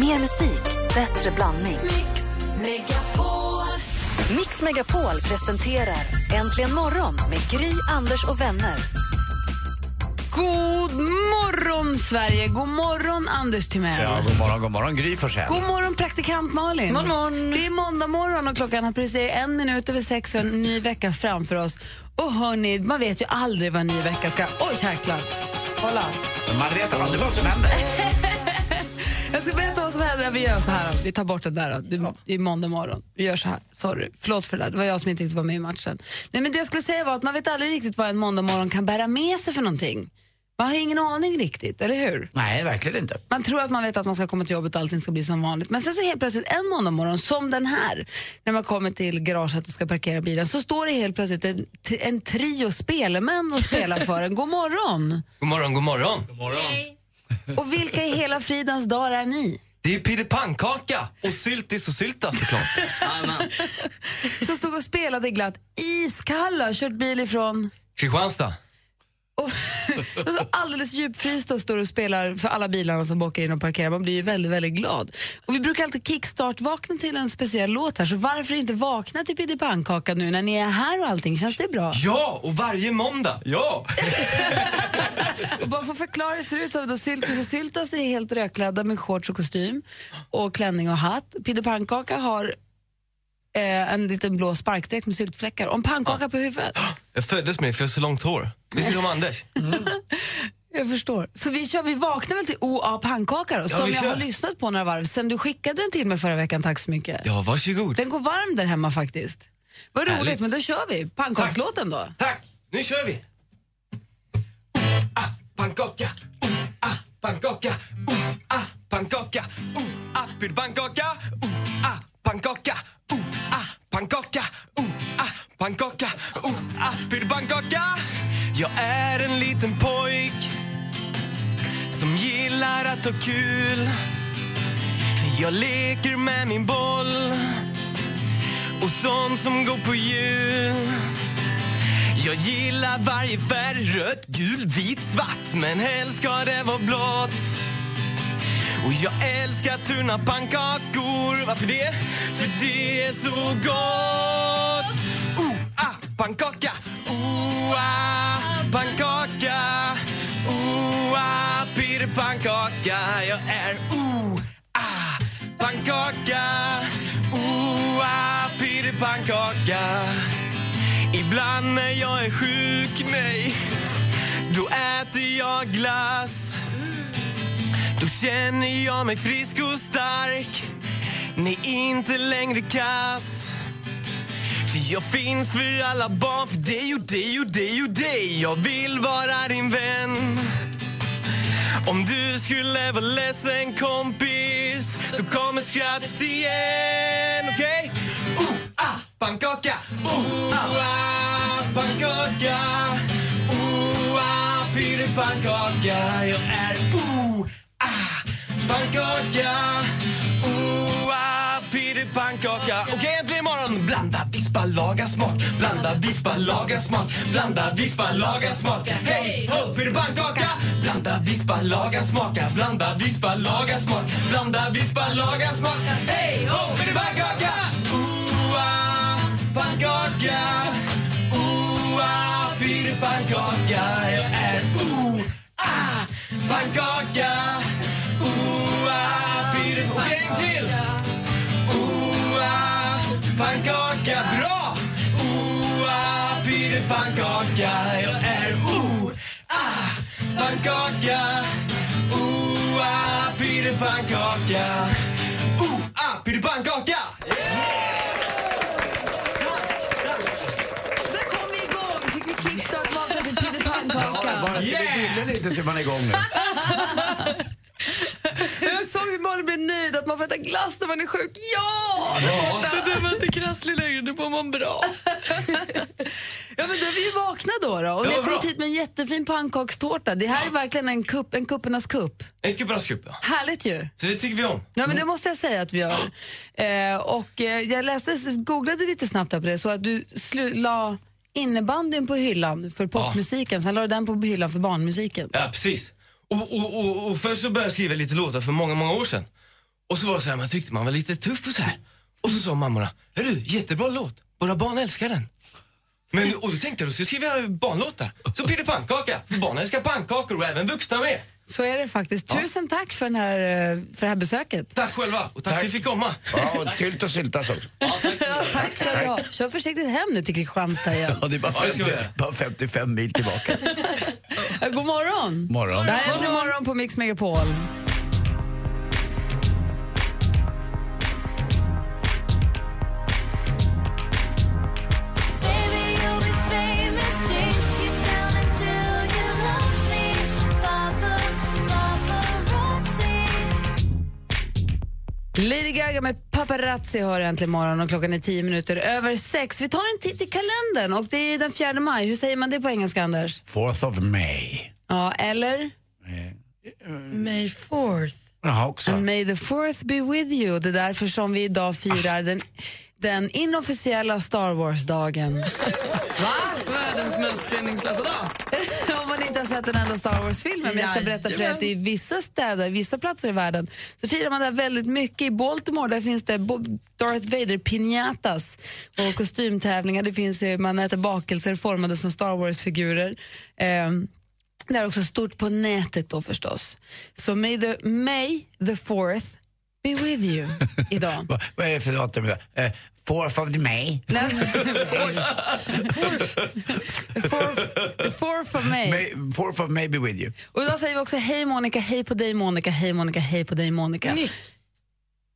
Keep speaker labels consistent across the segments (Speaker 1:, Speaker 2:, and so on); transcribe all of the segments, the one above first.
Speaker 1: Mer musik, bättre blandning.
Speaker 2: Mix Megapol.
Speaker 1: Mix Megapol presenterar Äntligen morgon med Gry, Anders och vänner.
Speaker 3: God morgon, Sverige! God morgon, Anders Timell!
Speaker 4: Ja, god morgon, god morgon. Gry Forssell.
Speaker 3: God morgon, praktikant Malin! Det är måndag morgon och klockan har precis en minut över sex och en ny vecka framför oss. Och hörni, man vet ju aldrig vad en ny vecka ska... Oj, jäklar! Kolla!
Speaker 4: Man vet aldrig vad som händer.
Speaker 3: Jag ska berätta vad som hände. Vi gör så här. Vi tar bort det där. Då. Det- Det är måndag morgon. Vi gör så här. Sorry. Förlåt för det där. Det var jag som inte riktigt var med i matchen. Nej, men det jag skulle säga var att man vet aldrig riktigt vad en måndag morgon kan bära med sig för någonting. Man har ju ingen aning riktigt, eller hur?
Speaker 4: Nej, verkligen inte.
Speaker 3: Man tror att man vet att man ska komma till jobbet och allting ska bli som vanligt. Men sen så helt plötsligt en måndagmorgon, som den här, när man kommer till garaget och ska parkera bilen, så står det helt plötsligt en, en trio spelmän och spelar för en. God morgon!
Speaker 5: God morgon, god morgon.
Speaker 3: Och vilka i hela fridens dag är ni?
Speaker 5: Det är pillepannkaka och syltis och sylta såklart.
Speaker 3: Som stod och spelade glatt, iskalla, och kört bil ifrån
Speaker 5: Kristianstad.
Speaker 3: och och så alldeles djupfrysta och står och spelar för alla bilarna som åker in och parkerar. Man blir ju väldigt, väldigt glad. Och vi brukar alltid kickstart-vakna till en speciell låt här, så varför inte vakna till Piddy Pannkaka nu när ni är här och allting? Känns det bra?
Speaker 5: Ja, och varje måndag. Ja!
Speaker 3: Och bara för att förklara hur det ser ut så har vi då Syltis och Syltas är helt rödklädda med shorts och kostym och klänning och hatt. Pidde Pannkaka har eh, en liten blå sparkdräkt med syltfläckar och en pannkaka på huvudet.
Speaker 5: Jag föddes med för jag har så långt hår. Visst är det som Anders?
Speaker 3: Jag förstår. Så vi, kör, vi vaknar väl till OA pannkaka då,
Speaker 5: Ja,
Speaker 3: som
Speaker 5: vi
Speaker 3: jag
Speaker 5: kör.
Speaker 3: har lyssnat på några varv sen du skickade den till mig förra veckan, tack så mycket.
Speaker 5: Ja, varsågod.
Speaker 3: Den går varm där hemma faktiskt. Vad roligt,
Speaker 5: Härligt.
Speaker 3: men då kör vi pannkakslåten då.
Speaker 5: Tack, nu kör vi. Ah, pannkaka, oh, ah, pannkaka, oh, ah, pannkaka, oh, ah, pillepannkaka, oh, ah, pannkaka, oh, ah, pannkaka, oh, ah, pannkaka, oh, ah, pillepannkaka. Jag är en liten pojk som gillar att ha kul. Jag leker med min boll och sånt som går på hjul. Jag gillar varje färg, rött, gul, vit, svart Men helst ska det vara blått Och jag älskar tunna pannkakor Varför det? För det är så gott Oh, ah, pannkaka Oh, ah, pannkaka Oh, ah, pirrpannkaka Jag är oh, ah, pannkaka Oh, ah, pirrpannkaka Ibland när jag är sjuk, nej Då äter jag glass Då känner jag mig frisk och stark Nej, inte längre kass För jag finns för alla barn För dig och dig och dig och dig Jag vill vara din vän om du skulle vara ledsen kompis Då kommer skrattet igen Okej? Oh, ah, pannkaka Oh, ah, pannkaka Oh, ah, pyttipannkaka Jag är oh, ah, pannkaka Oh, ah, pyttipannkaka Okej, äntligen imorgon! Blanda, vispa, laga smak Blanda, vispa, laga smak Blanda, vispa, laga smak Hej, ho, pyttipannkaka Blanda, vispa, laga smaka Blanda, vispa, laga smak Blanda, vispa, laga smak Hej, ho, pyttipannkaka Ooh-ah, pannkaka Ooh-ah, pyttipannkaka Jag är ooh-ah, pannkaka Ooh-ah, pyttipannkaka Okej, en till! Ooh-ah, pannkaka Bra! Ooh-ah, pyttipannkaka Jag är ooh-ah, pannkaka Ooh-ah, pyttipannkaka Ooh-ah, pyttipannkaka!
Speaker 3: Där kom vi igång! Fick vi kickstart vakna till Pidde
Speaker 4: Bara,
Speaker 3: pannkaka.
Speaker 4: bara yeah!
Speaker 5: Yeah!
Speaker 4: ser vi lite så är man igång nu.
Speaker 3: Jag såg hur Malin blev nöjd att man får äta glass när man är sjuk. Ja!
Speaker 6: Det där var inte krasslig längre, nu mår man bra.
Speaker 3: Ja, men då är vi ju vakna då. då. Och ni har
Speaker 5: vad
Speaker 3: kommit
Speaker 5: bra.
Speaker 3: hit med en jättefin pannkakstårta. Det här är verkligen en, kupp, en kuppernas kupp.
Speaker 5: Mycket bra skupp, ja.
Speaker 3: Härligt ju.
Speaker 5: Så det tycker vi om.
Speaker 3: Ja, men det måste jag säga att vi gör. Eh, och eh, jag läste, googlade lite snabbt här på det, så att du slu- la innebandyn på hyllan för popmusiken, sen la du den på hyllan för barnmusiken.
Speaker 5: Ja, precis. Och, och, och, och först så började jag skriva lite låtar för många, många år sedan. Och så var det så här, man tyckte man var lite tuff och så här. Och så sa mammorna, hörru, jättebra låt, våra barn älskar den. Men, och då tänkte jag, då skriver jag barnlåtar. Så blir det pannkaka, för barn älskar pannkakor och även vuxna med.
Speaker 3: Så är det faktiskt. Tusen tack för, den här, eh, för det här besöket.
Speaker 5: Tack själva och tack, för att vi fick komma.
Speaker 4: Ja, och sylt och syltas också.
Speaker 3: Ja, tack ska du ha. Kör försiktigt hem nu till Kristianstad igen.
Speaker 4: Ja, det är bara,
Speaker 5: Ja, det ska
Speaker 4: 50,
Speaker 5: vi göra.
Speaker 4: bara 55 mil tillbaka.
Speaker 3: Eh, God morgon!
Speaker 4: Morgon.
Speaker 3: Det här är Äntligen morgon på Mix Megapol. Lady Gaga med Paparazzi hör äntligen morgon och klockan är tio minuter över sex. Vi tar en titt i kalendern och det är den 4 maj. Hur säger man det på engelska, Anders?
Speaker 4: Fourth of May.
Speaker 3: Ja, eller?
Speaker 6: May 4th.
Speaker 4: Jaha, också.
Speaker 3: And
Speaker 5: Mm.
Speaker 3: may the fourth be with you. Det är därför som vi idag firar den, den inofficiella Star Wars-dagen.
Speaker 6: Världens mest meningslösa dag.
Speaker 3: Om man inte har sett en enda Star Wars-filmen. Men jag ska berätta för dig att i vissa städer, vissa platser i världen så firar man det här väldigt mycket. I Baltimore där finns det Bo- Darth Vader piñatas och kostymtävlingar. Det finns, eh, man äter bakelser formade som Star Wars-figurer. Ehm, det är också stort på nätet då förstås. Så may the, may the fourth be with you idag.
Speaker 4: Va- Vad är det för datum idag? Eh, Fourth of May.
Speaker 3: Nej, fourth. Fourth. The fourth. The fourth of May.
Speaker 4: May. Fourth of May be with you.
Speaker 3: Och idag säger vi också hej Monica, hej på dig Monica, hej Monica, hej på dig Monica.
Speaker 6: Nick.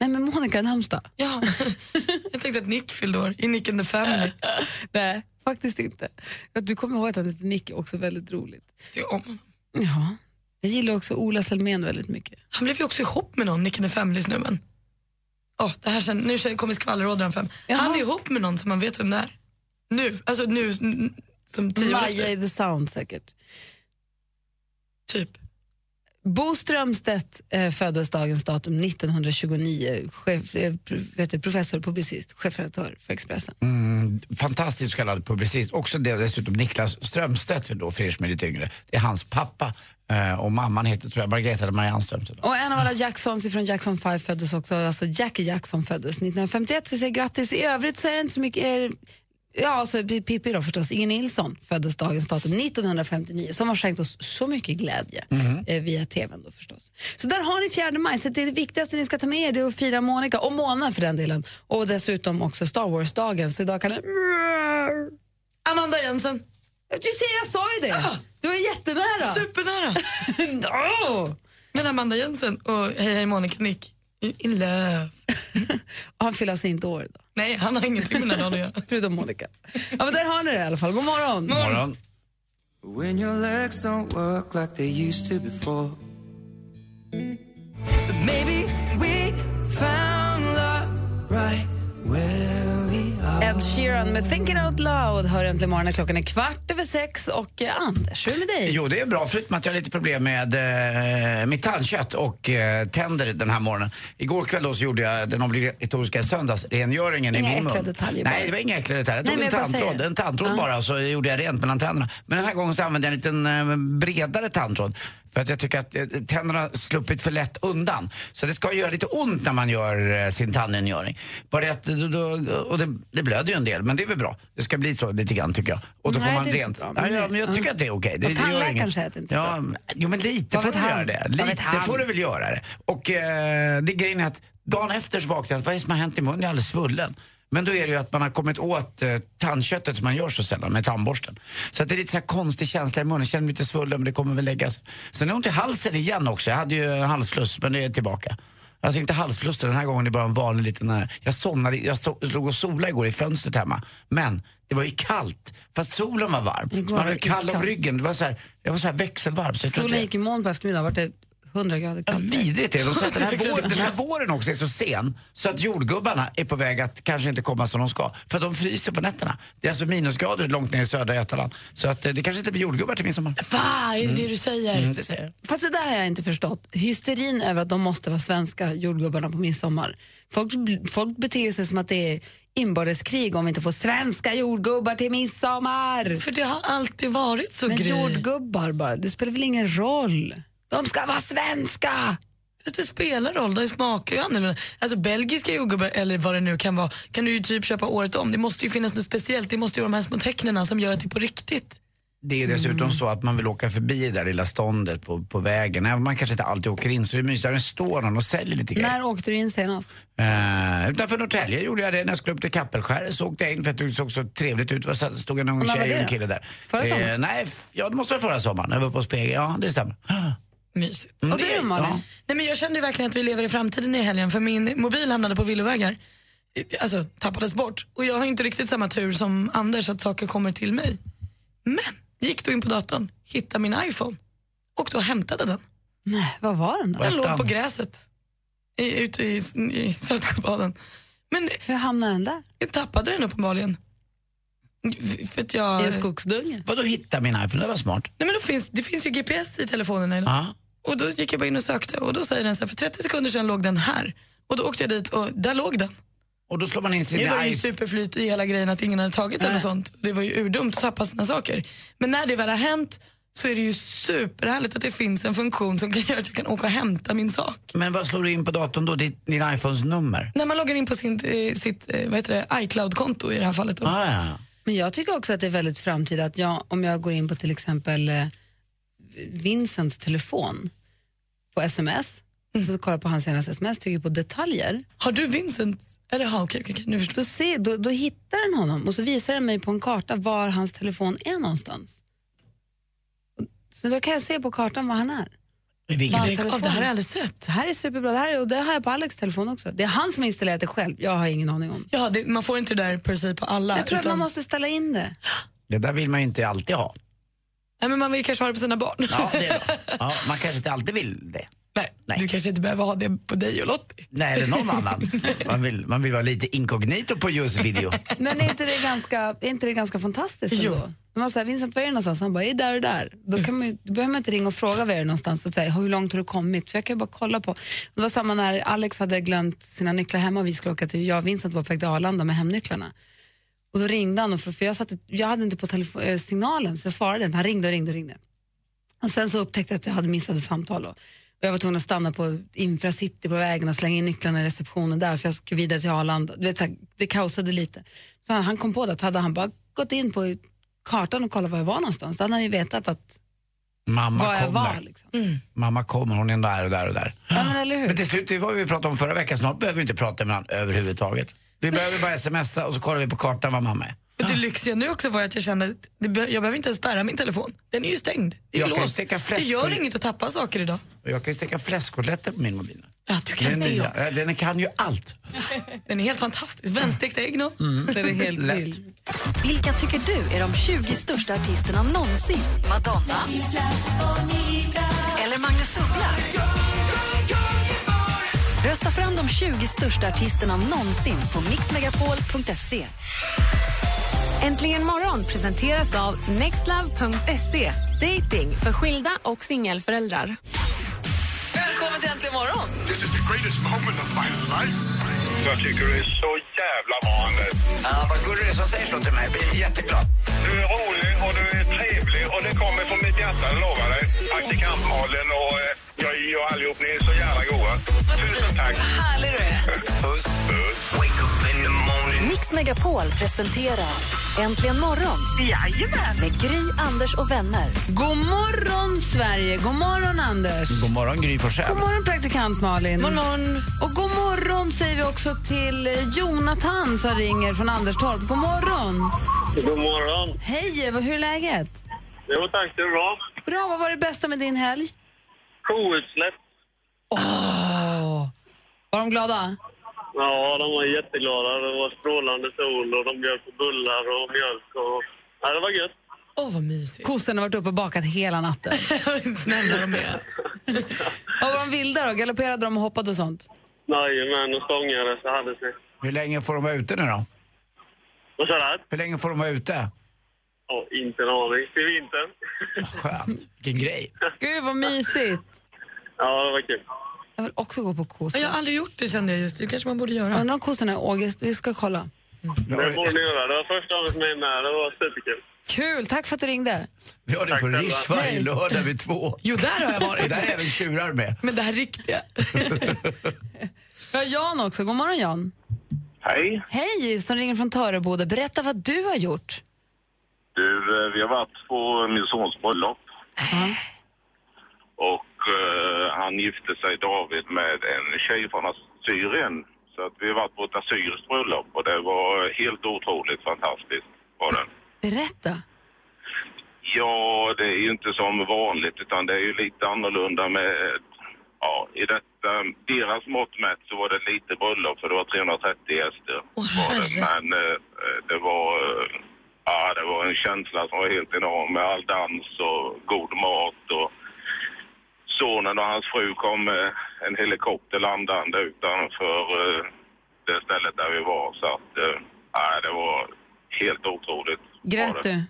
Speaker 3: Nej men Monica Namsta.
Speaker 6: Ja. Jag tänkte att Nick fyllde år i Nick and the Family.
Speaker 3: Nej, faktiskt inte. Att Du kommer ihåg att han heter Nick är också väldigt roligt.
Speaker 6: Det är om honom.
Speaker 3: Ja. Jag gillar också Ola Salmén väldigt mycket.
Speaker 6: Han blev ju också ihop med någon, Nick and the Family-snubben. Oh, det här sen, nu känner- kommer skvallerrådaren fram. Han
Speaker 3: Jaha.
Speaker 6: är ihop med någon som man vet vem det är. Nu, alltså nu n- som tio år
Speaker 3: Maja i
Speaker 6: efter.
Speaker 3: The Sound säkert.
Speaker 6: Typ.
Speaker 3: Bo Strömstedt eh, föddes dagens datum 1929. Chef, eh, pr- vet du, professor, publicist, chefredaktör för Expressen.
Speaker 4: Fantastiskt så kallad publicist. Också det, dessutom Niklas Strömstedt, då, för er som är lite yngre. Det är hans pappa. Eh, och mamman heter, tror jag, Margareta eller Marianne Strömstedt.
Speaker 3: Och en av alla Jacksons från Jackson 5 föddes också, alltså Jackie Jackson föddes 1951. Vi säger grattis. I övrigt så är det inte så mycket... Er, ja, så P- Pippi då förstås. Inge Nilsson föddes dagens datum 1959 som har skänkt oss så mycket glädje eh, via tvn då förstås. Så där har ni 4 maj. Så det viktigaste ni ska ta med er det är att fira Monica, och Mona för den delen, och dessutom också Star Wars-dagen. Så idag kan ni...
Speaker 6: Amanda Jensen.
Speaker 3: Du ser, jag sa ju det! Du är jättenära!
Speaker 6: Supernära.
Speaker 3: Åh!
Speaker 6: Men Amanda Jensen och Hej Hej Monica Nick. i- In love.
Speaker 3: Och han fyller alltså inte år idag.
Speaker 6: Nej, han har ingenting med den här dagen att göra.
Speaker 3: Förutom Monica. Ja, men där har ni det i alla fall. God morgon!
Speaker 4: Morgon.
Speaker 7: When your legs don't work like they used to before. But maybe we found love right where we are.
Speaker 3: Ed Sheeran med Thinking Out Loud hör äntligen morgonen. Klockan är kvart över sex och eh, Anders, hur är det med dig?
Speaker 4: Jo, det är bra förutom att jag har lite problem med eh, mitt tandkött och eh, tänder den här morgonen. Igår kväll då så gjorde jag den obligatoriska söndagsrengöringen
Speaker 3: Inga
Speaker 4: i min mun.
Speaker 3: äckliga detaljer bara.
Speaker 4: Nej, det var inga äckliga detaljer. Jag
Speaker 3: Nej,
Speaker 4: tog
Speaker 3: men jag bara
Speaker 4: en tandtråd,
Speaker 3: säger.
Speaker 4: en tandtråd bara så gjorde jag rent mellan tänderna. Men den här gången så använde jag en liten eh, bredare tandtråd. För att jag tycker att eh, tänderna har sluppit för lätt undan. Så det ska göra lite ont när man gör eh, sin tandrengöring. Bara det att, då, då, och det, det blöder ju en del, men det är väl bra. Det ska bli så lite grann tycker jag. Och då
Speaker 3: Nej,
Speaker 4: får man
Speaker 3: det är inte
Speaker 4: rent.
Speaker 3: så bra, men
Speaker 4: ja, ja,
Speaker 3: det-
Speaker 4: men jag
Speaker 3: ja.
Speaker 4: tycker att det är okej. Det-
Speaker 3: Ja,
Speaker 4: det gör
Speaker 3: tandläkaren
Speaker 4: inget.
Speaker 3: säger att det inte är så
Speaker 4: ja, men- Jo men lite
Speaker 3: Vad
Speaker 4: får
Speaker 3: vet
Speaker 4: du göra
Speaker 3: han?
Speaker 4: det.
Speaker 3: Vad vet
Speaker 4: Lite
Speaker 3: han?
Speaker 4: får du väl göra det. Och eh, det grejen är att dagen efter så vaknar jag att vad är det som har hänt i munnen? Jag är alldeles svullen. Men då är det ju att man har kommit åt eh, tandköttet som man gör så sällan med tandborsten. Så att det är lite så här konstig känsla i munnen. Jag känner mig lite svullen men det kommer väl lägga sig. Sen har jag ont i halsen igen också. Jag hade ju en halsfluss men det är tillbaka. Alltså inte halsfluss den här gången, det är bara en vanlig liten... eh, Jag somnade, jag stod, slog och solade igår i fönstret hemma. Men det var ju kallt, fast solen var varm.
Speaker 3: Igår
Speaker 4: Så man
Speaker 3: var
Speaker 4: var
Speaker 3: det
Speaker 4: kall om
Speaker 3: iskallt.
Speaker 4: ryggen. Det var så här, jag var så här växelvarm. Så jag tror att
Speaker 3: Solen
Speaker 4: det-
Speaker 3: gick i moln på eftermiddagen, vart det 100 grader
Speaker 4: Ja,
Speaker 3: kallt.
Speaker 4: Vidrigt är det. De säger att den, här vår, den här våren också är så sen så att jordgubbarna är på väg att kanske inte komma som de ska. För att de fryser på nätterna. Det är alltså minusgrader långt ner i södra Götaland. Så att eh, det kanske inte blir jordgubbar till midsommar.
Speaker 6: Va, är det det du säger?
Speaker 4: Mm, det säger jag.
Speaker 3: Fast det där har jag inte förstått. Hysterin över att de måste vara svenska, jordgubbarna, på midsommar. Folk, folk beter sig som att det är inbördeskrig om vi inte får svenska jordgubbar till midsommar.
Speaker 6: För det har alltid varit så,
Speaker 3: Men
Speaker 6: Gry.
Speaker 3: jordgubbar bara, det spelar väl ingen roll? De ska vara svenska!
Speaker 6: Fast det spelar roll, det smakar ju annorlunda. Alltså belgiska jordgubbar eller vad det nu kan vara kan du ju typ köpa året om. Det måste ju finnas något speciellt, det måste ju vara de här små tecknen som gör att det är på riktigt.
Speaker 4: Det är dessutom
Speaker 3: Mm.
Speaker 4: så att man vill åka förbi det där lilla ståndet på, på vägen. Även om man kanske inte alltid åker in så är det mysigt. Där står någon och säljer lite grejer.
Speaker 3: När åkte du in senast?
Speaker 4: Eh, utanför Norrtälje gjorde jag det när jag skulle upp till Kappelskäret så åkte jag in för att det såg så trevligt ut. Det var så- stod en ung
Speaker 3: när var
Speaker 4: tjej och en
Speaker 3: det?
Speaker 4: kille där.
Speaker 3: Förra sommaren?
Speaker 4: Eh, nej, f- ja det måste vara förra sommaren. Jag var på Spegel. Ja, det stämmer.
Speaker 6: Mysigt.
Speaker 4: Mm,
Speaker 3: Och du då Malin?
Speaker 4: ja.
Speaker 6: Nej, men jag kände ju verkligen att vi lever i framtiden i helgen för min mobil hamnade på villovägar. Eh, Alltså tappades bort. Och jag har ju inte riktigt samma tur som Anders att saker kommer till mig. Men jag gick då in på datorn, hittade min iPhone och då hämtade den.
Speaker 3: Nej, vad var den då?
Speaker 4: Vad
Speaker 6: Den
Speaker 4: hette
Speaker 6: låg på
Speaker 4: han?
Speaker 6: gräset i, ute i, i Saltsjöbaden. Men
Speaker 3: Hur hamnade den där?
Speaker 6: jag tappade den uppenbarligen. För att jag...
Speaker 3: I en skogsdunge?
Speaker 4: Vadå hitta min iPhone? Det var smart.
Speaker 6: Nej, men då finns, det finns ju GPS i telefonerna idag.
Speaker 4: Ja.
Speaker 6: Och då gick jag bara in och sökte och då säger den så här, för 30 sekunder sedan låg den här. Och då åkte jag dit och där låg den.
Speaker 4: Och då slår man in sin
Speaker 6: Nu var det ju
Speaker 4: iPhone.
Speaker 6: superflyt i hela grejen att ingen hade tagit den och sånt. Det var ju urdumt att tappa sina saker. Men när det väl har hänt så är det ju superhärligt att det finns en funktion som kan göra att jag kan åka och hämta min sak.
Speaker 4: Men vad slår du in på datorn då? Ditt, din iPhones nummer?
Speaker 6: När man loggar in på sin, eh, sitt eh, vad heter det, iCloud-konto i det här fallet. Då.
Speaker 4: Ah, ja.
Speaker 3: Men jag tycker också att det är väldigt framtida att jag, om jag går in på till exempel eh, Vincents telefon på sms,
Speaker 6: Mm.
Speaker 3: så kollar jag på hans senaste sms, trycker på detaljer,
Speaker 6: Har du Vincent? Eller ja, okej, okej, okej, nu förstår
Speaker 3: då, ser, då, då hittar den honom och så visar den mig på en karta var hans telefon är någonstans. Och- Så då kan jag se på kartan var han är.
Speaker 4: Vilket,
Speaker 3: Vad
Speaker 6: jag.
Speaker 3: telefon?
Speaker 6: Av det här har jag aldrig sett.
Speaker 3: Det här är superbra, det här är, och det har jag på Alex telefon också. Det är han som har installerat det själv, jag har ingen aning om.
Speaker 6: Ja, det, man får inte det där per se på alla.
Speaker 3: Jag tror att
Speaker 6: utan-
Speaker 3: man måste ställa in det.
Speaker 4: det där vill man ju inte alltid ha.
Speaker 6: Nej, men man vill kanske ha det på sina barn.
Speaker 4: Ja, det är bra. ja, man kanske inte alltid vill det.
Speaker 6: Nej,
Speaker 4: Nej.
Speaker 6: Du kanske inte behöver ha det på dig och Lottie.
Speaker 4: Nej, eller någon annan. Man vill, man vill vara lite inkognito på just video.
Speaker 3: Men är inte det ganska, är inte det ganska fantastiskt
Speaker 6: Jo.
Speaker 3: ändå? När man säger Vincent, var är du någonstans? Han bara, jag är där och där. Då, kan man, ju- då behöver man inte ringa och fråga var är du någonstans och säga, hur långt har du kommit? För jag kan ju bara kolla på. Det var samma när Alex hade glömt sina nycklar hemma och vi skulle åka till, jag och Vincent var på väg till Arlanda med hemnycklarna. Och då ringde han, och för, för jag, satt, jag hade inte på telefo- eh, signalen så jag svarade inte. Han ringde och ringde och ringde. Och sen så upptäckte jag att jag hade missat ett samtal. Då. Och jag var tvungen att stanna på Infracity på vägen och slänga in nycklarna i receptionen där för jag skulle vidare till Arlanda. Du vet, så här, det kaosade lite. Så han, han kom på det, att hade han bara gått in på kartan och kollat var jag var någonstans, då hade han ju vetat att
Speaker 4: Mamma
Speaker 3: var jag
Speaker 4: kommer.
Speaker 3: var. Liksom.
Speaker 4: Mamma kommer, hon är där och där och där.
Speaker 3: Ja, men eller hur?
Speaker 4: Men till slut, det var vi pratade om förra veckan, snart behöver vi inte prata med varandra överhuvudtaget. Vi behöver bara smsa och så kollar vi på kartan var mamma är.
Speaker 6: Och det lyxiga nu också var att jag kände att det be- jag behöver inte ens spärra min telefon. Den är ju stängd. Det, är
Speaker 4: Jag kan ju
Speaker 6: låst.
Speaker 4: steka
Speaker 6: det
Speaker 4: fläsk
Speaker 6: gör
Speaker 4: på-
Speaker 6: inget att tappa saker idag.
Speaker 4: Och jag kan ju steka fläskkotletter på min mobil.
Speaker 6: Ja, du kan
Speaker 4: Den,
Speaker 6: det
Speaker 4: nya,
Speaker 6: också.
Speaker 4: eh, den kan ju allt.
Speaker 6: Den är helt fantastisk. Vändstekta ägg nu.
Speaker 3: det är helt
Speaker 4: Mm. Lätt.
Speaker 3: vild.
Speaker 1: Vilka tycker du är de 20 största artisterna någonsin? Madonna? Eller Magnus Uggla? Rösta fram de 20 största artisterna någonsin på mixmegapol.se.
Speaker 8: Äntligen morgon presenteras av nextlove.se. Dating för skilda och singelföräldrar.
Speaker 3: Välkommen till Äntligen morgon!
Speaker 9: This is the greatest moment of my life.
Speaker 10: Jag tycker du är så jävla bra, Anders.
Speaker 4: Ja, vad gullig du är som säger så till mig. Jag blir jätteglad.
Speaker 10: Du är rolig och du är trevlig och det kommer från mitt hjärta, jag lovar dig. Praktikant Malin och eh, jag och allihop, ni är så jävla goa. Tusen tack.
Speaker 3: Härlig du är!
Speaker 4: Puss. Wake up in the morning.
Speaker 1: Mix Megapol presenterar Äntligen morgon med Gry, Anders och vänner.
Speaker 3: God morgon Sverige, god morgon Anders!
Speaker 4: God morgon Gry Forssell.
Speaker 3: God morgon praktikant Malin!
Speaker 6: Morgon, morgon.
Speaker 3: Och god morgon säger vi också till Jonathan som ringer från Anderstorp. God morgon!
Speaker 10: God morgon.
Speaker 3: Hej, Eva, hur är läget?
Speaker 10: Jo tack, det är bra.
Speaker 3: Bra, vad var det bästa med din helg?
Speaker 10: Koutsläpp.
Speaker 3: Var de glada?
Speaker 10: Ja, de var jätteglada. Det var strålande sol och de bjöd på bullar och mjölk. Och... Ja, det var gött.
Speaker 6: Åh, vad mysigt.
Speaker 3: Kossorna har varit uppe och bakat hela natten.
Speaker 6: Snälla de är.
Speaker 3: Och var de vilda då? Galopperade de och hoppade och sånt?
Speaker 10: Jajamän, och stångade så hade sig.
Speaker 4: Hur länge får de vara ute nu då?
Speaker 10: Och sådär.
Speaker 4: Hur länge får de vara ute?
Speaker 10: Ja, inte en aning. Till vintern.
Speaker 4: Skönt. Vilken grej.
Speaker 3: Gud vad mysigt!
Speaker 10: Ja, det var kul.
Speaker 3: Jag vill också gå på kossor.
Speaker 6: Jag har aldrig gjort det kände jag just. Det kanske man borde göra.
Speaker 3: Undrar om kossorna är August. Vi ska kolla.
Speaker 10: Det borde ni göra. Det var första gången för mig med. Det var superkul.
Speaker 3: Kul, tack för att du ringde.
Speaker 4: Vi har det på Rish varje lördag vid två.
Speaker 6: Jo, där har jag varit.
Speaker 4: Och där är även tjurar med.
Speaker 6: Men det här riktiga.
Speaker 3: Vi har Jan också. God morgon, Jan.
Speaker 11: Hej.
Speaker 3: Hej, som ringer från Töreboda. Berätta vad du har gjort.
Speaker 11: Du, eh, vi har varit på min sons bröllop. Och eh, han gifte sig, David, med en tjej från Syrien. Så att vi har varit på ett assyriskt bröllop och det var helt otroligt fantastiskt. Var det.
Speaker 3: Berätta.
Speaker 11: Ja, det är ju inte som vanligt utan det är ju lite annorlunda med... Ja, i detta, deras mått mätt så var det lite bröllop för det var 330 gäster. var det. Men eh, det var... eh, Ja, det var en känsla som var helt enorm med all dans och god mat och sonen och hans fru kom med en helikopter landande utanför eh, det stället där vi var. Så att, eh, ja, det var helt otroligt.
Speaker 3: Grät du?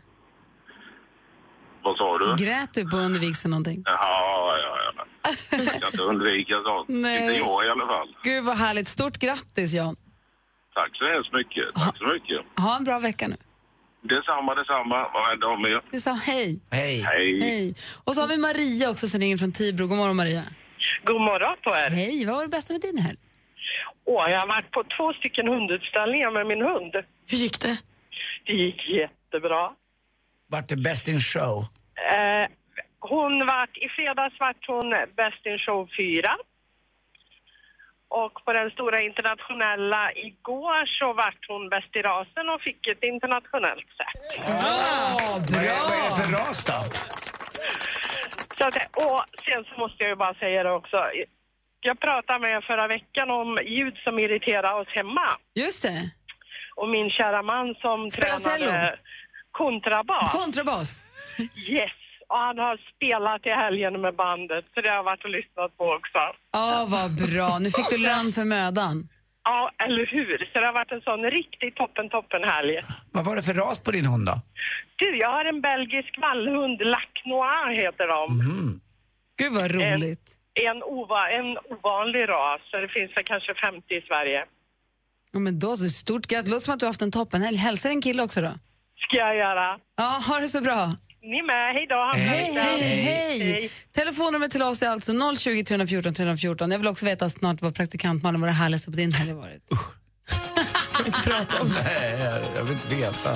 Speaker 11: Vad sa du?
Speaker 3: Grät du på under vigseln någonting?
Speaker 11: Ja, ja, ja. Jag kan inte undvika sånt.
Speaker 3: Nej.
Speaker 11: Inte jag i alla fall.
Speaker 3: Gud vad härligt. Stort grattis Jan.
Speaker 11: Tack så hemskt mycket. Tack så mycket.
Speaker 3: Ha en bra vecka nu.
Speaker 11: Detsamma, detsamma. Var rädda om er.
Speaker 3: Vi sa hej.
Speaker 4: Hej.
Speaker 11: Hej.
Speaker 3: Hej. Och så har vi Maria också som ringer från Tibro. God morgon Maria.
Speaker 12: God morgon på er.
Speaker 3: Hej, vad var det bästa med din helg?
Speaker 12: Åh, jag har varit på två stycken hundutställningar med min hund. Hur gick det? Det gick jättebra.
Speaker 4: Vart det bäst in show?
Speaker 12: Eh, hon vart, i fredags vart hon Best in Show 4. Och på den stora internationella igår så vart hon bäst i rasen och fick ett internationellt sätt.
Speaker 4: Vad är, vad är det för ras då?
Speaker 12: Så att, och sen så måste jag ju bara säga det också. Jag pratade med er förra veckan om ljud som irriterar oss hemma.
Speaker 3: Just det.
Speaker 12: Och min kära man som
Speaker 3: Spelar cello.
Speaker 12: tränade kontrabas.
Speaker 3: Kontrabas.
Speaker 12: Yes. Och han har spelat i helgen med bandet, så det har jag varit och lyssnat på också.
Speaker 3: Ja, vad bra. Nu fick du lön för mödan.
Speaker 12: Ja, eller hur? Så det har varit en sån riktig toppen-toppen-helg.
Speaker 4: Vad var det för ras på din hund då?
Speaker 12: Du, jag har en belgisk vallhund, Lac Noir heter de.
Speaker 3: Gud vad roligt.
Speaker 12: En, en, ova, en ovanlig ras, så det finns väl kanske 50 i Sverige.
Speaker 3: Ja, men då så. Stort grattis. Låter som att du har haft en toppenhelg. Hälsa en kille också då.
Speaker 12: Ska jag göra.
Speaker 3: Ja, ha det så bra.
Speaker 12: Ni med, hej då.
Speaker 3: Hej, hej, hej. Telefonnumret till oss är alltså 020 314 314. Jag vill också veta snart vad praktikant Malin var det härligaste på din helg har varit.
Speaker 4: Kan vi inte prata om det? Nej, jag vill inte veta.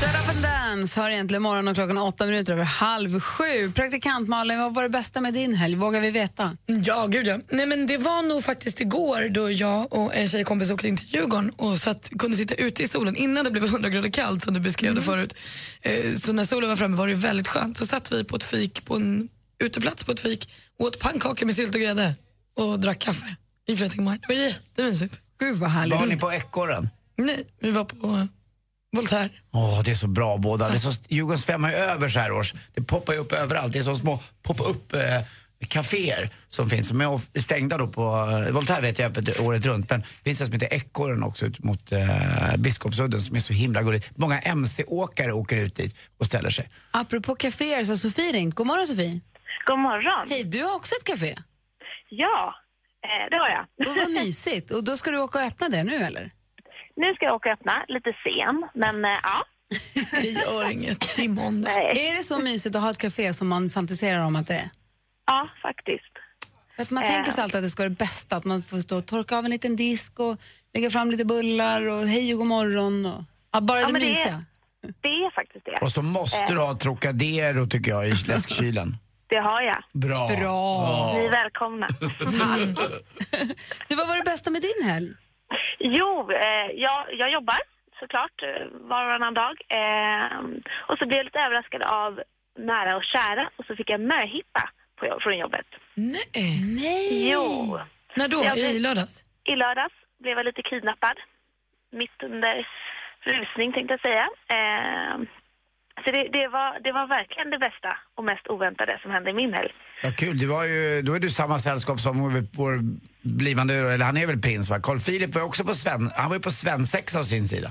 Speaker 3: Shut up and dance hör egentligen morgon och klockan åtta minuter över halv sju. Praktikant Malin, vad var det bästa med din helg? Vågar vi veta?
Speaker 6: Ja, gud ja. Nej, men det var nog faktiskt igår då jag och en tjejkompis åkte in till Djurgården och satt, kunde sitta ute i solen innan det blev 100 grader kallt som du beskrev det förut. Eh, Så när solen var framme var det väldigt skönt. Så satt vi på ett fik, på en uteplats på ett fik, åt pannkakor med sylt och grädde och drack kaffe i flera timmar. Det var jättemysigt.
Speaker 3: Gud vad härligt.
Speaker 4: Var ni på ekorren?
Speaker 6: Nej, vi var på eh, Voltaire.
Speaker 4: Åh, det är så bra båda. Det är så, Djurgårdens femma är över så här års. Det poppar ju upp överallt. Det är så små pop-up eh, kaféer som finns. Som är off- stängda då på, eh, Voltaire vet jag är öppet året runt. Men det finns en som heter Ekorren också ut mot eh, Biskopsudden som är så himla gulligt. Många MC-åkare åker ut dit och ställer sig.
Speaker 3: Apropå kaféer så har Sofie ringt. God morgon Sofie.
Speaker 13: God morgon.
Speaker 3: Hej, du har också ett kafé.
Speaker 13: Ja, eh, det har jag.
Speaker 3: Och vad mysigt. Och då ska du åka och öppna det nu eller?
Speaker 13: Nu ska jag åka och öppna, lite sen, men eh, ja.
Speaker 6: Vi gör inget, i måndag.
Speaker 3: Är det så mysigt att ha ett kafé som man fantiserar om att det är?
Speaker 13: Ja, faktiskt.
Speaker 3: För att man tänker
Speaker 13: Eh.
Speaker 3: sig alltid att det ska vara det bästa, att man får stå och torka av en liten disk och lägga fram lite bullar och hej och god morgon. Och, ja, bara
Speaker 13: Ja,
Speaker 3: det
Speaker 13: men det är-
Speaker 3: mysiga.
Speaker 13: Det är faktiskt det.
Speaker 4: Och så måste
Speaker 13: Eh,
Speaker 4: du ha Trocadero tycker jag i läskkylen.
Speaker 13: Det har jag.
Speaker 4: Bra. Ja.
Speaker 13: Ni är välkomna.
Speaker 3: Du, vad var det bästa med din helg?
Speaker 13: Jo, eh, jag, jag jobbar såklart eh, var och varannan dag. Eh, och så blev jag lite överraskad av nära och kära och så fick jag möhippa på, jobb- från jobbet.
Speaker 6: Nej.
Speaker 3: Nej.
Speaker 13: Jo.
Speaker 6: När då?
Speaker 13: Jag blev-
Speaker 6: I lördags?
Speaker 13: I lördags blev jag lite kidnappad. Mitt under rusning tänkte jag säga. Eh, så det, det, var, det var verkligen det bästa och mest oväntade som hände i min helg.
Speaker 4: Ja, kul. Du var ju, då är du samma sällskap som vår blivande, eller han är väl prins va? Carl Philip var ju också på Sven, han var ju på svensexa å sin sida.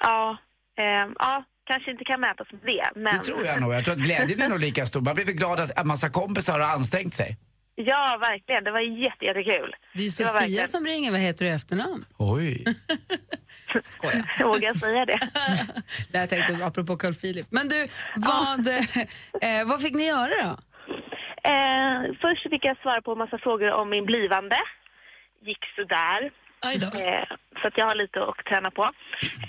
Speaker 13: Ja, eh, ja kanske inte kan mätas med det. Men...
Speaker 4: Det tror jag nog. Jag tror att glädjen är nog lika stor. Man blir väl glad att en massa kompisar har ansträngt sig.
Speaker 13: Ja, verkligen. Det var jätte, jättekul.
Speaker 3: Det är ju
Speaker 13: var
Speaker 3: Sofia
Speaker 13: verkligen-
Speaker 3: som ringer. Vad heter du i efternamn?
Speaker 4: Oj.
Speaker 3: Skojar.
Speaker 13: Vågar jag säga det?
Speaker 3: det här tänkte jag apropå Carl Philip. Men du, vad, eh, vad fick ni göra då?
Speaker 13: Eh, först fick jag svara på en massa frågor om min blivande. Gick sådär. Eh, så att jag har lite att träna på.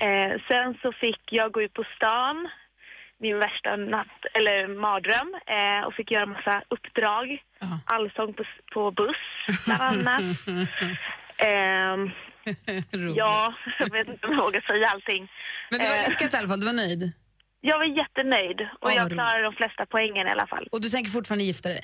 Speaker 13: Eh, sen så fick jag gå ut på stan, min värsta natt, eller mardröm, eh, och fick göra massa uppdrag. Allsång på, s- på buss, bland annat. Ehm, ja, jag vet inte om jag vågar säga allting.
Speaker 3: Men det var
Speaker 13: Eh,
Speaker 3: lyckat i alla fall, du var nöjd.
Speaker 13: Jag var jättenöjd och
Speaker 3: Ja, vad
Speaker 13: jag
Speaker 3: roligt.
Speaker 13: klarade de flesta poängen i alla fall.
Speaker 3: Och du tänker fortfarande gifta dig?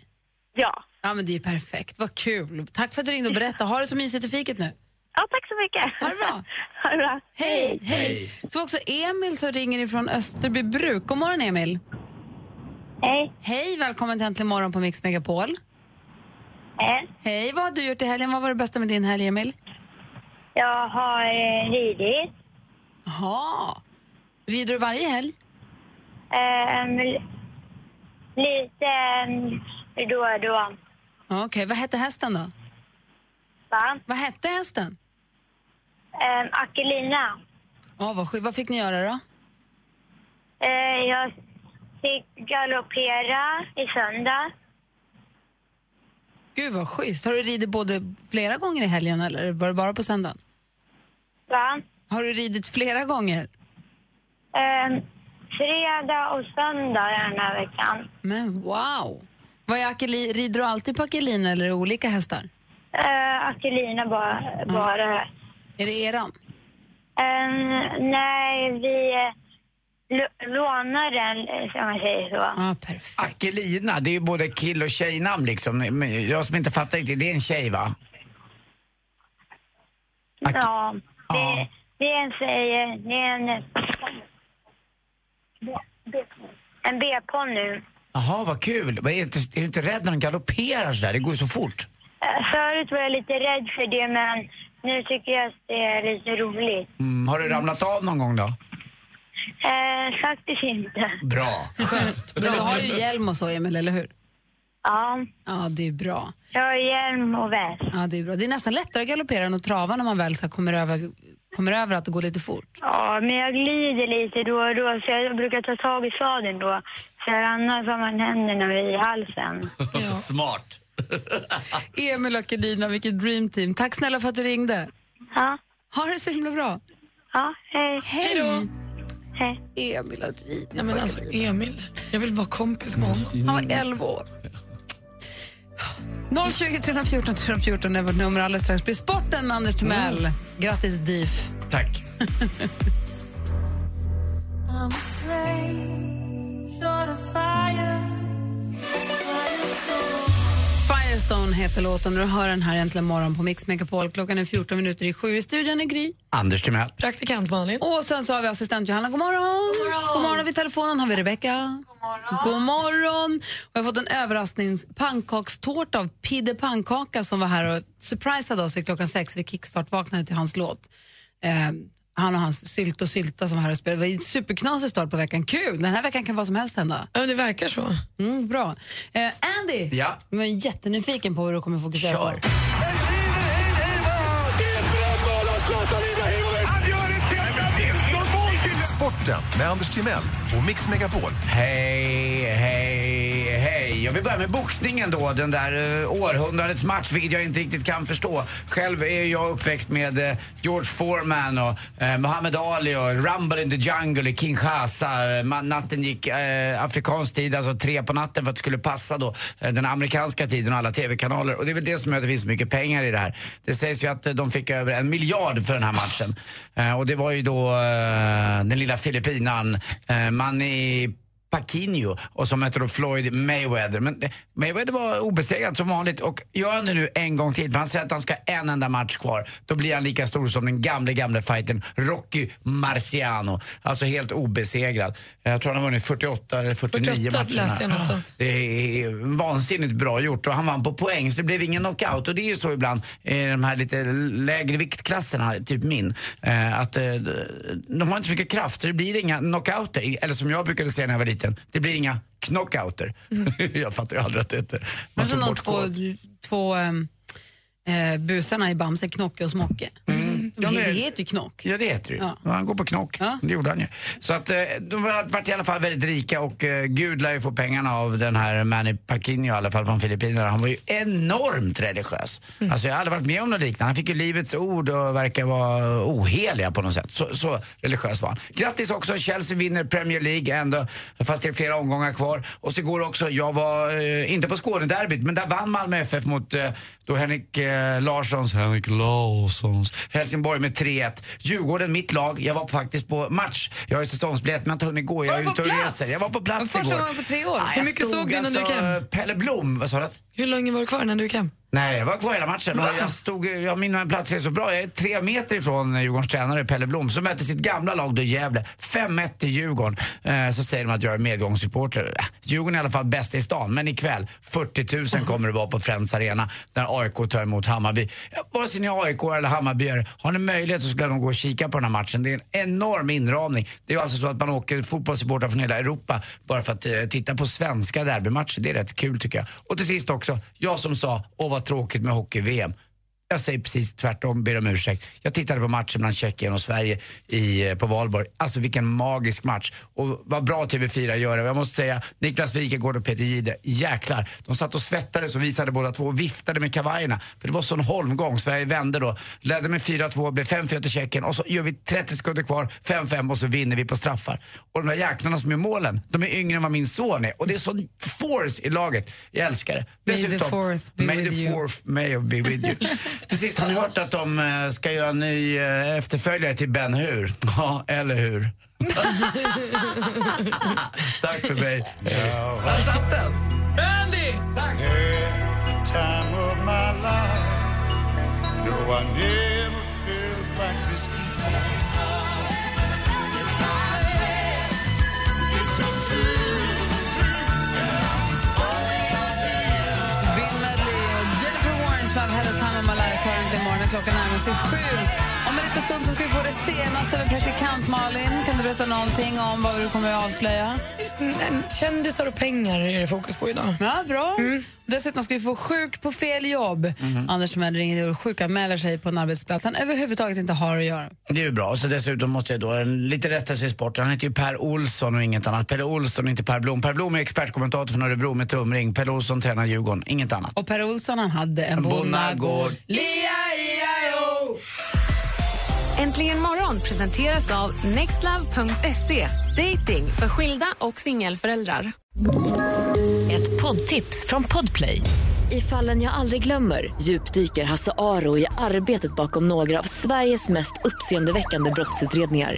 Speaker 13: Ja.
Speaker 3: Ja, men det är ju perfekt. Vad kul. Tack för att du ringde och berättade. Ha det så mysigt i fiket nu.
Speaker 13: Ja, tack så mycket.
Speaker 3: Ha det bra.
Speaker 13: Ha det bra.
Speaker 3: Hej, hej. Så också Emil som ringer ifrån Österbybruk. God morgon Emil.
Speaker 14: Hej.
Speaker 3: Hej, välkommen till Äntligen morgon på Mix Megapol.
Speaker 14: Hej.
Speaker 3: Hej, vad har du gjort i helgen? Vad var det bästa med din helg Emil?
Speaker 14: Jag har eh, ridit.
Speaker 3: Jaha. Rider du varje helg?
Speaker 14: Ehm, l- lite ehm, då och då.
Speaker 3: Ja, Okej, vad hette hästen då?
Speaker 14: Va?
Speaker 3: Vad hette hästen?
Speaker 14: Ehm, Akelina.
Speaker 3: Ja, vad sjukt. Vad fick ni göra då?
Speaker 14: Eh, jag fick galoppera i söndag.
Speaker 3: Gud vad schysst. Har du ridit både flera gånger i helgen eller var det bara på söndagen?
Speaker 14: Va?
Speaker 3: Har du ridit flera gånger?
Speaker 14: Ehm, fredag och söndag den här veckan.
Speaker 3: Men wow! Vad är akeli, rider du alltid på akelin eller är det olika hästar?
Speaker 14: Eh, Akelina bara. bara.
Speaker 3: Är det eran?
Speaker 14: Ehm, nej, vi eh, lå- lånar den, eh, om man säger så.
Speaker 3: Ah, perfekt.
Speaker 4: Akelina, det är ju både kill och tjejnamn liksom. Men Jag som inte fattar riktigt, det är en tjej va?
Speaker 14: Ja, det, det är en säger, det är en... eh, En B-ponny.
Speaker 4: Jaha, vad kul. Men är, inte, är du inte rädd när den galopperar sådär? Det går ju så fort.
Speaker 14: Eh, Förut var jag lite rädd för det, men nu tycker jag att det är lite roligt.
Speaker 4: Mm, har du ramlat av någon gång då?
Speaker 14: Eh, faktiskt inte.
Speaker 4: Bra.
Speaker 3: Skönt. Men du har ju hjälm och så, Emil, eller hur?
Speaker 14: Ja.
Speaker 3: Ja, det är bra.
Speaker 14: Jag har hjälm och väst.
Speaker 3: Ja, det är bra. Det är nästan lättare att galoppera än att trava när man väl så här kommer, över, kommer över att det går lite fort.
Speaker 14: Ja, men jag glider lite då och då, så jag brukar ta tag i sadeln då. För annars har man händerna i halsen.
Speaker 4: Smart.
Speaker 3: Emil och Elina, vilket dreamteam. Tack snälla för att du ringde.
Speaker 14: Ja.
Speaker 3: Ha det så himla bra.
Speaker 14: Ja, hej.
Speaker 3: Hej då.
Speaker 14: Hej.
Speaker 3: Emil och Rina.
Speaker 6: Nej, men alltså, Emil, jag vill vara kompis med honom.
Speaker 3: Han var 11 år. 020 314 314 är vårt nummer. Alldeles strax blir sporten med Anders Timell. Grattis, DIF.
Speaker 4: Tack.
Speaker 7: I'm afraid, short of fire.
Speaker 3: Firestone heter låten. Du hör den här äntligen morgon på Mix Megapol. Klockan är 14 minuter i sju. I studion är Gry.
Speaker 4: Anders Timell.
Speaker 6: Praktikant Malin.
Speaker 3: Och sen så har vi assistent Johanna. God morgon! God morgon, God morgon vid telefonen har vi Rebecca. God morgon. God morgon. Och jag har fått en överrasknings pannkakstårta av Pidde Pannkaka som var här och surprisade oss vid klockan sex. Vi kickstart-vaknade till hans låt. Eh, han och hans Sylt och Sylta som var här och spelade. Det var en superknasig start på veckan. Kul! Den här veckan kan vad som helst hända.
Speaker 6: Ja, men det verkar så.
Speaker 3: Mm, bra. Eh, Andy,
Speaker 6: Ja.
Speaker 3: jag är jättenyfiken på vad du kommer fokusera på.
Speaker 15: Sporten med Anders Timell och Mix Megapol.
Speaker 4: Hej, hej, hej. Jag vill börja med boxningen då. Den där eh, århundradets match, vilket jag inte riktigt kan förstå. Själv är jag uppväxt med eh, George Foreman och eh, Muhammad Ali och Rumble in the Jungle i Kinshasa. Eh, man, natten gick eh, afrikansk tid, alltså tre på natten för att det skulle passa då eh, den amerikanska tiden och alla tv-kanaler. Och det är väl det som gör att det finns så mycket pengar i det här. Det sägs ju att eh, de fick över en miljard för den här matchen. Eh, och det var ju då eh, den lilla filippinan, eh, Manny Pacquiao och som mötte då Floyd Mayweather. Men eh, Mayweather var obesegrad som vanligt och gör han det nu en gång till, för han säger att han ska ha en enda match kvar, då blir han lika stor som den gamle gamle fighten Rocky Marciano. Alltså helt obesegrad. Jag tror han har vunnit 48 eller 49
Speaker 6: 48
Speaker 4: matcher.
Speaker 6: läste jag någonstans.
Speaker 4: Det är vansinnigt bra gjort och han vann på poäng så det blev ingen knockout. Och det är ju så ibland i de här lite lägre viktklasserna, typ min, eh, att eh, de har inte så mycket kraft så det blir inga knockouter. Eller som jag brukade säga när jag var liten, det blir inga knockouter. jag fattar ju aldrig att det heter.
Speaker 3: Men som
Speaker 4: såg
Speaker 3: de
Speaker 4: Alltså bort
Speaker 3: två,
Speaker 4: folk.
Speaker 3: två ehm, eh, busarna i Bamse, Knocke och Smocke. De,
Speaker 4: Mm. Ja, men-
Speaker 3: det heter ju Knock.
Speaker 4: Ja, det heter det ju.
Speaker 3: Ja.
Speaker 4: Han går på knock. Det gjorde han ju. Så att eh, de har varit i alla fall väldigt rika och eh, Gud lär ju få pengarna av den här Manny Pacquiao i alla fall från Filippinerna. Han var ju enormt religiös.
Speaker 3: Mm.
Speaker 4: Alltså jag har aldrig varit med om något liknande. Han fick ju livets ord och verkar vara oheliga på något sätt. Så, så religiös var han. Grattis också, Chelsea vinner Premier League ändå, fast det är flera omgångar kvar. Och så går också, jag var eh, inte på Skånederbyt, men där vann Malmö FF mot eh, då Henrik eh, Larssons, Henrik Larssons, Helsingborg med 3-1. Djurgården, mitt lag, jag var faktiskt på match. Jag har ju säsongsbiljett men jag har inte hunnit gå, jag är ute och reser. Jag var på plats
Speaker 3: Första
Speaker 4: igår.
Speaker 3: gången på tre år.
Speaker 4: Nej, jag
Speaker 6: Hur mycket
Speaker 4: stod
Speaker 6: såg du innan du gick
Speaker 4: alltså,
Speaker 6: hem?
Speaker 4: Pelle Blom, vad sa du? att-
Speaker 6: Hur länge var du kvar innan du gick hem?
Speaker 4: Nej, jag var kvar hela matchen. Och jag stod, jag minns min plats är så bra. Jag är tre meter ifrån Djurgårdens tränare Pelle Blom som mötte sitt gamla lag då Gävle. 5-1 till Djurgården. Eh, så säger de att jag är medgångssupporter. Äh, Djurgården är i alla fall bäst i stan. Men ikväll, 40 000 kommer det vara på Friends Arena när AIK tar emot Hammarby. Ja, Vare sig ni är AIK eller Hammarbyare, har ni möjlighet så ska de gå och kika på den här matchen. Det är en enorm inramning. Det är ju alltså så att man åker fotbollssupportrar från hela Europa bara för att eh, titta på svenska derbymatcher. Det är rätt kul tycker jag. Och till sist också, jag som sa, åh vad tråkigt med hockey-VM. Jag säger precis tvärtom, ber om ursäkt. Jag tittade på matchen mellan Tjeckien och Sverige i, eh, på Valborg. Alltså vilken magisk match. Och vad bra TV4 gör det. Och Jag måste säga, Niklas Wikegård och Peter Jihde, jäklar. De satt och svettades och visade båda två och viftade med kavajerna. För det var sån holmgång. Sverige vände då. Ledde med 4-2, blev 5-4 till Tjeckien och så gör vi 30 sekunder kvar, 5-5 och så vinner vi på straffar. Och de där jäklarna som gör målen, de är yngre än vad min son är. Och det är sån force i laget. Jag älskar det.
Speaker 3: May the fourth be
Speaker 4: May
Speaker 3: with
Speaker 4: the
Speaker 3: you.
Speaker 4: fourth may be with you. Till sist, har ni hört att de eh, ska göra en ny eh, efterföljare till Ben Hur? Ja, eller hur? Tack för mig. Där satt den!
Speaker 7: Andy! Tack! The time of my life No, I never felt like this before
Speaker 3: Bill Medley och Jennifer Warren som har Hella Time of My Life hör inte imorgon när klockan närmar sig sju. Om en liten stund så ska vi få det senaste med praktikant Malin. Kan du berätta någonting om vad du kommer att avslöja?
Speaker 6: Kändisar och pengar är det fokus på idag.
Speaker 3: Ja, bra.
Speaker 4: Mm.
Speaker 3: Dessutom ska vi få sjuk på fel jobb.
Speaker 4: Mhm.
Speaker 3: Anders som ringer och sjukanmäler sig på en arbetsplats han överhuvudtaget inte har att göra.
Speaker 4: Det är ju bra. Så dessutom måste jag då en lite rättelse i sporten. Han heter ju Per Olsson och inget annat. Pelle Olsson, inte Per Blom. Per Blom är expertkommentator från Örebro med tumring. Pelle Olsson tränar Djurgården, inget annat.
Speaker 3: Och Per Olsson han hade en bonnagård.
Speaker 4: Bonnagård.
Speaker 7: E-I-E-I-O!
Speaker 8: Äntligen morgon presenteras av nextlove.se. Dating för skilda och singelföräldrar.
Speaker 16: Ett poddtips från Podplay. I fallen jag aldrig glömmer djupdyker Hasse Aro i arbetet bakom några av Sveriges mest uppseendeväckande brottsutredningar.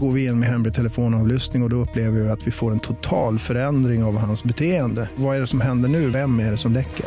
Speaker 17: Går vi in med hemlig telefonavlyssning och, och då upplever vi att vi får en total förändring av hans beteende. Vad är det som händer nu? Vem är det som läcker?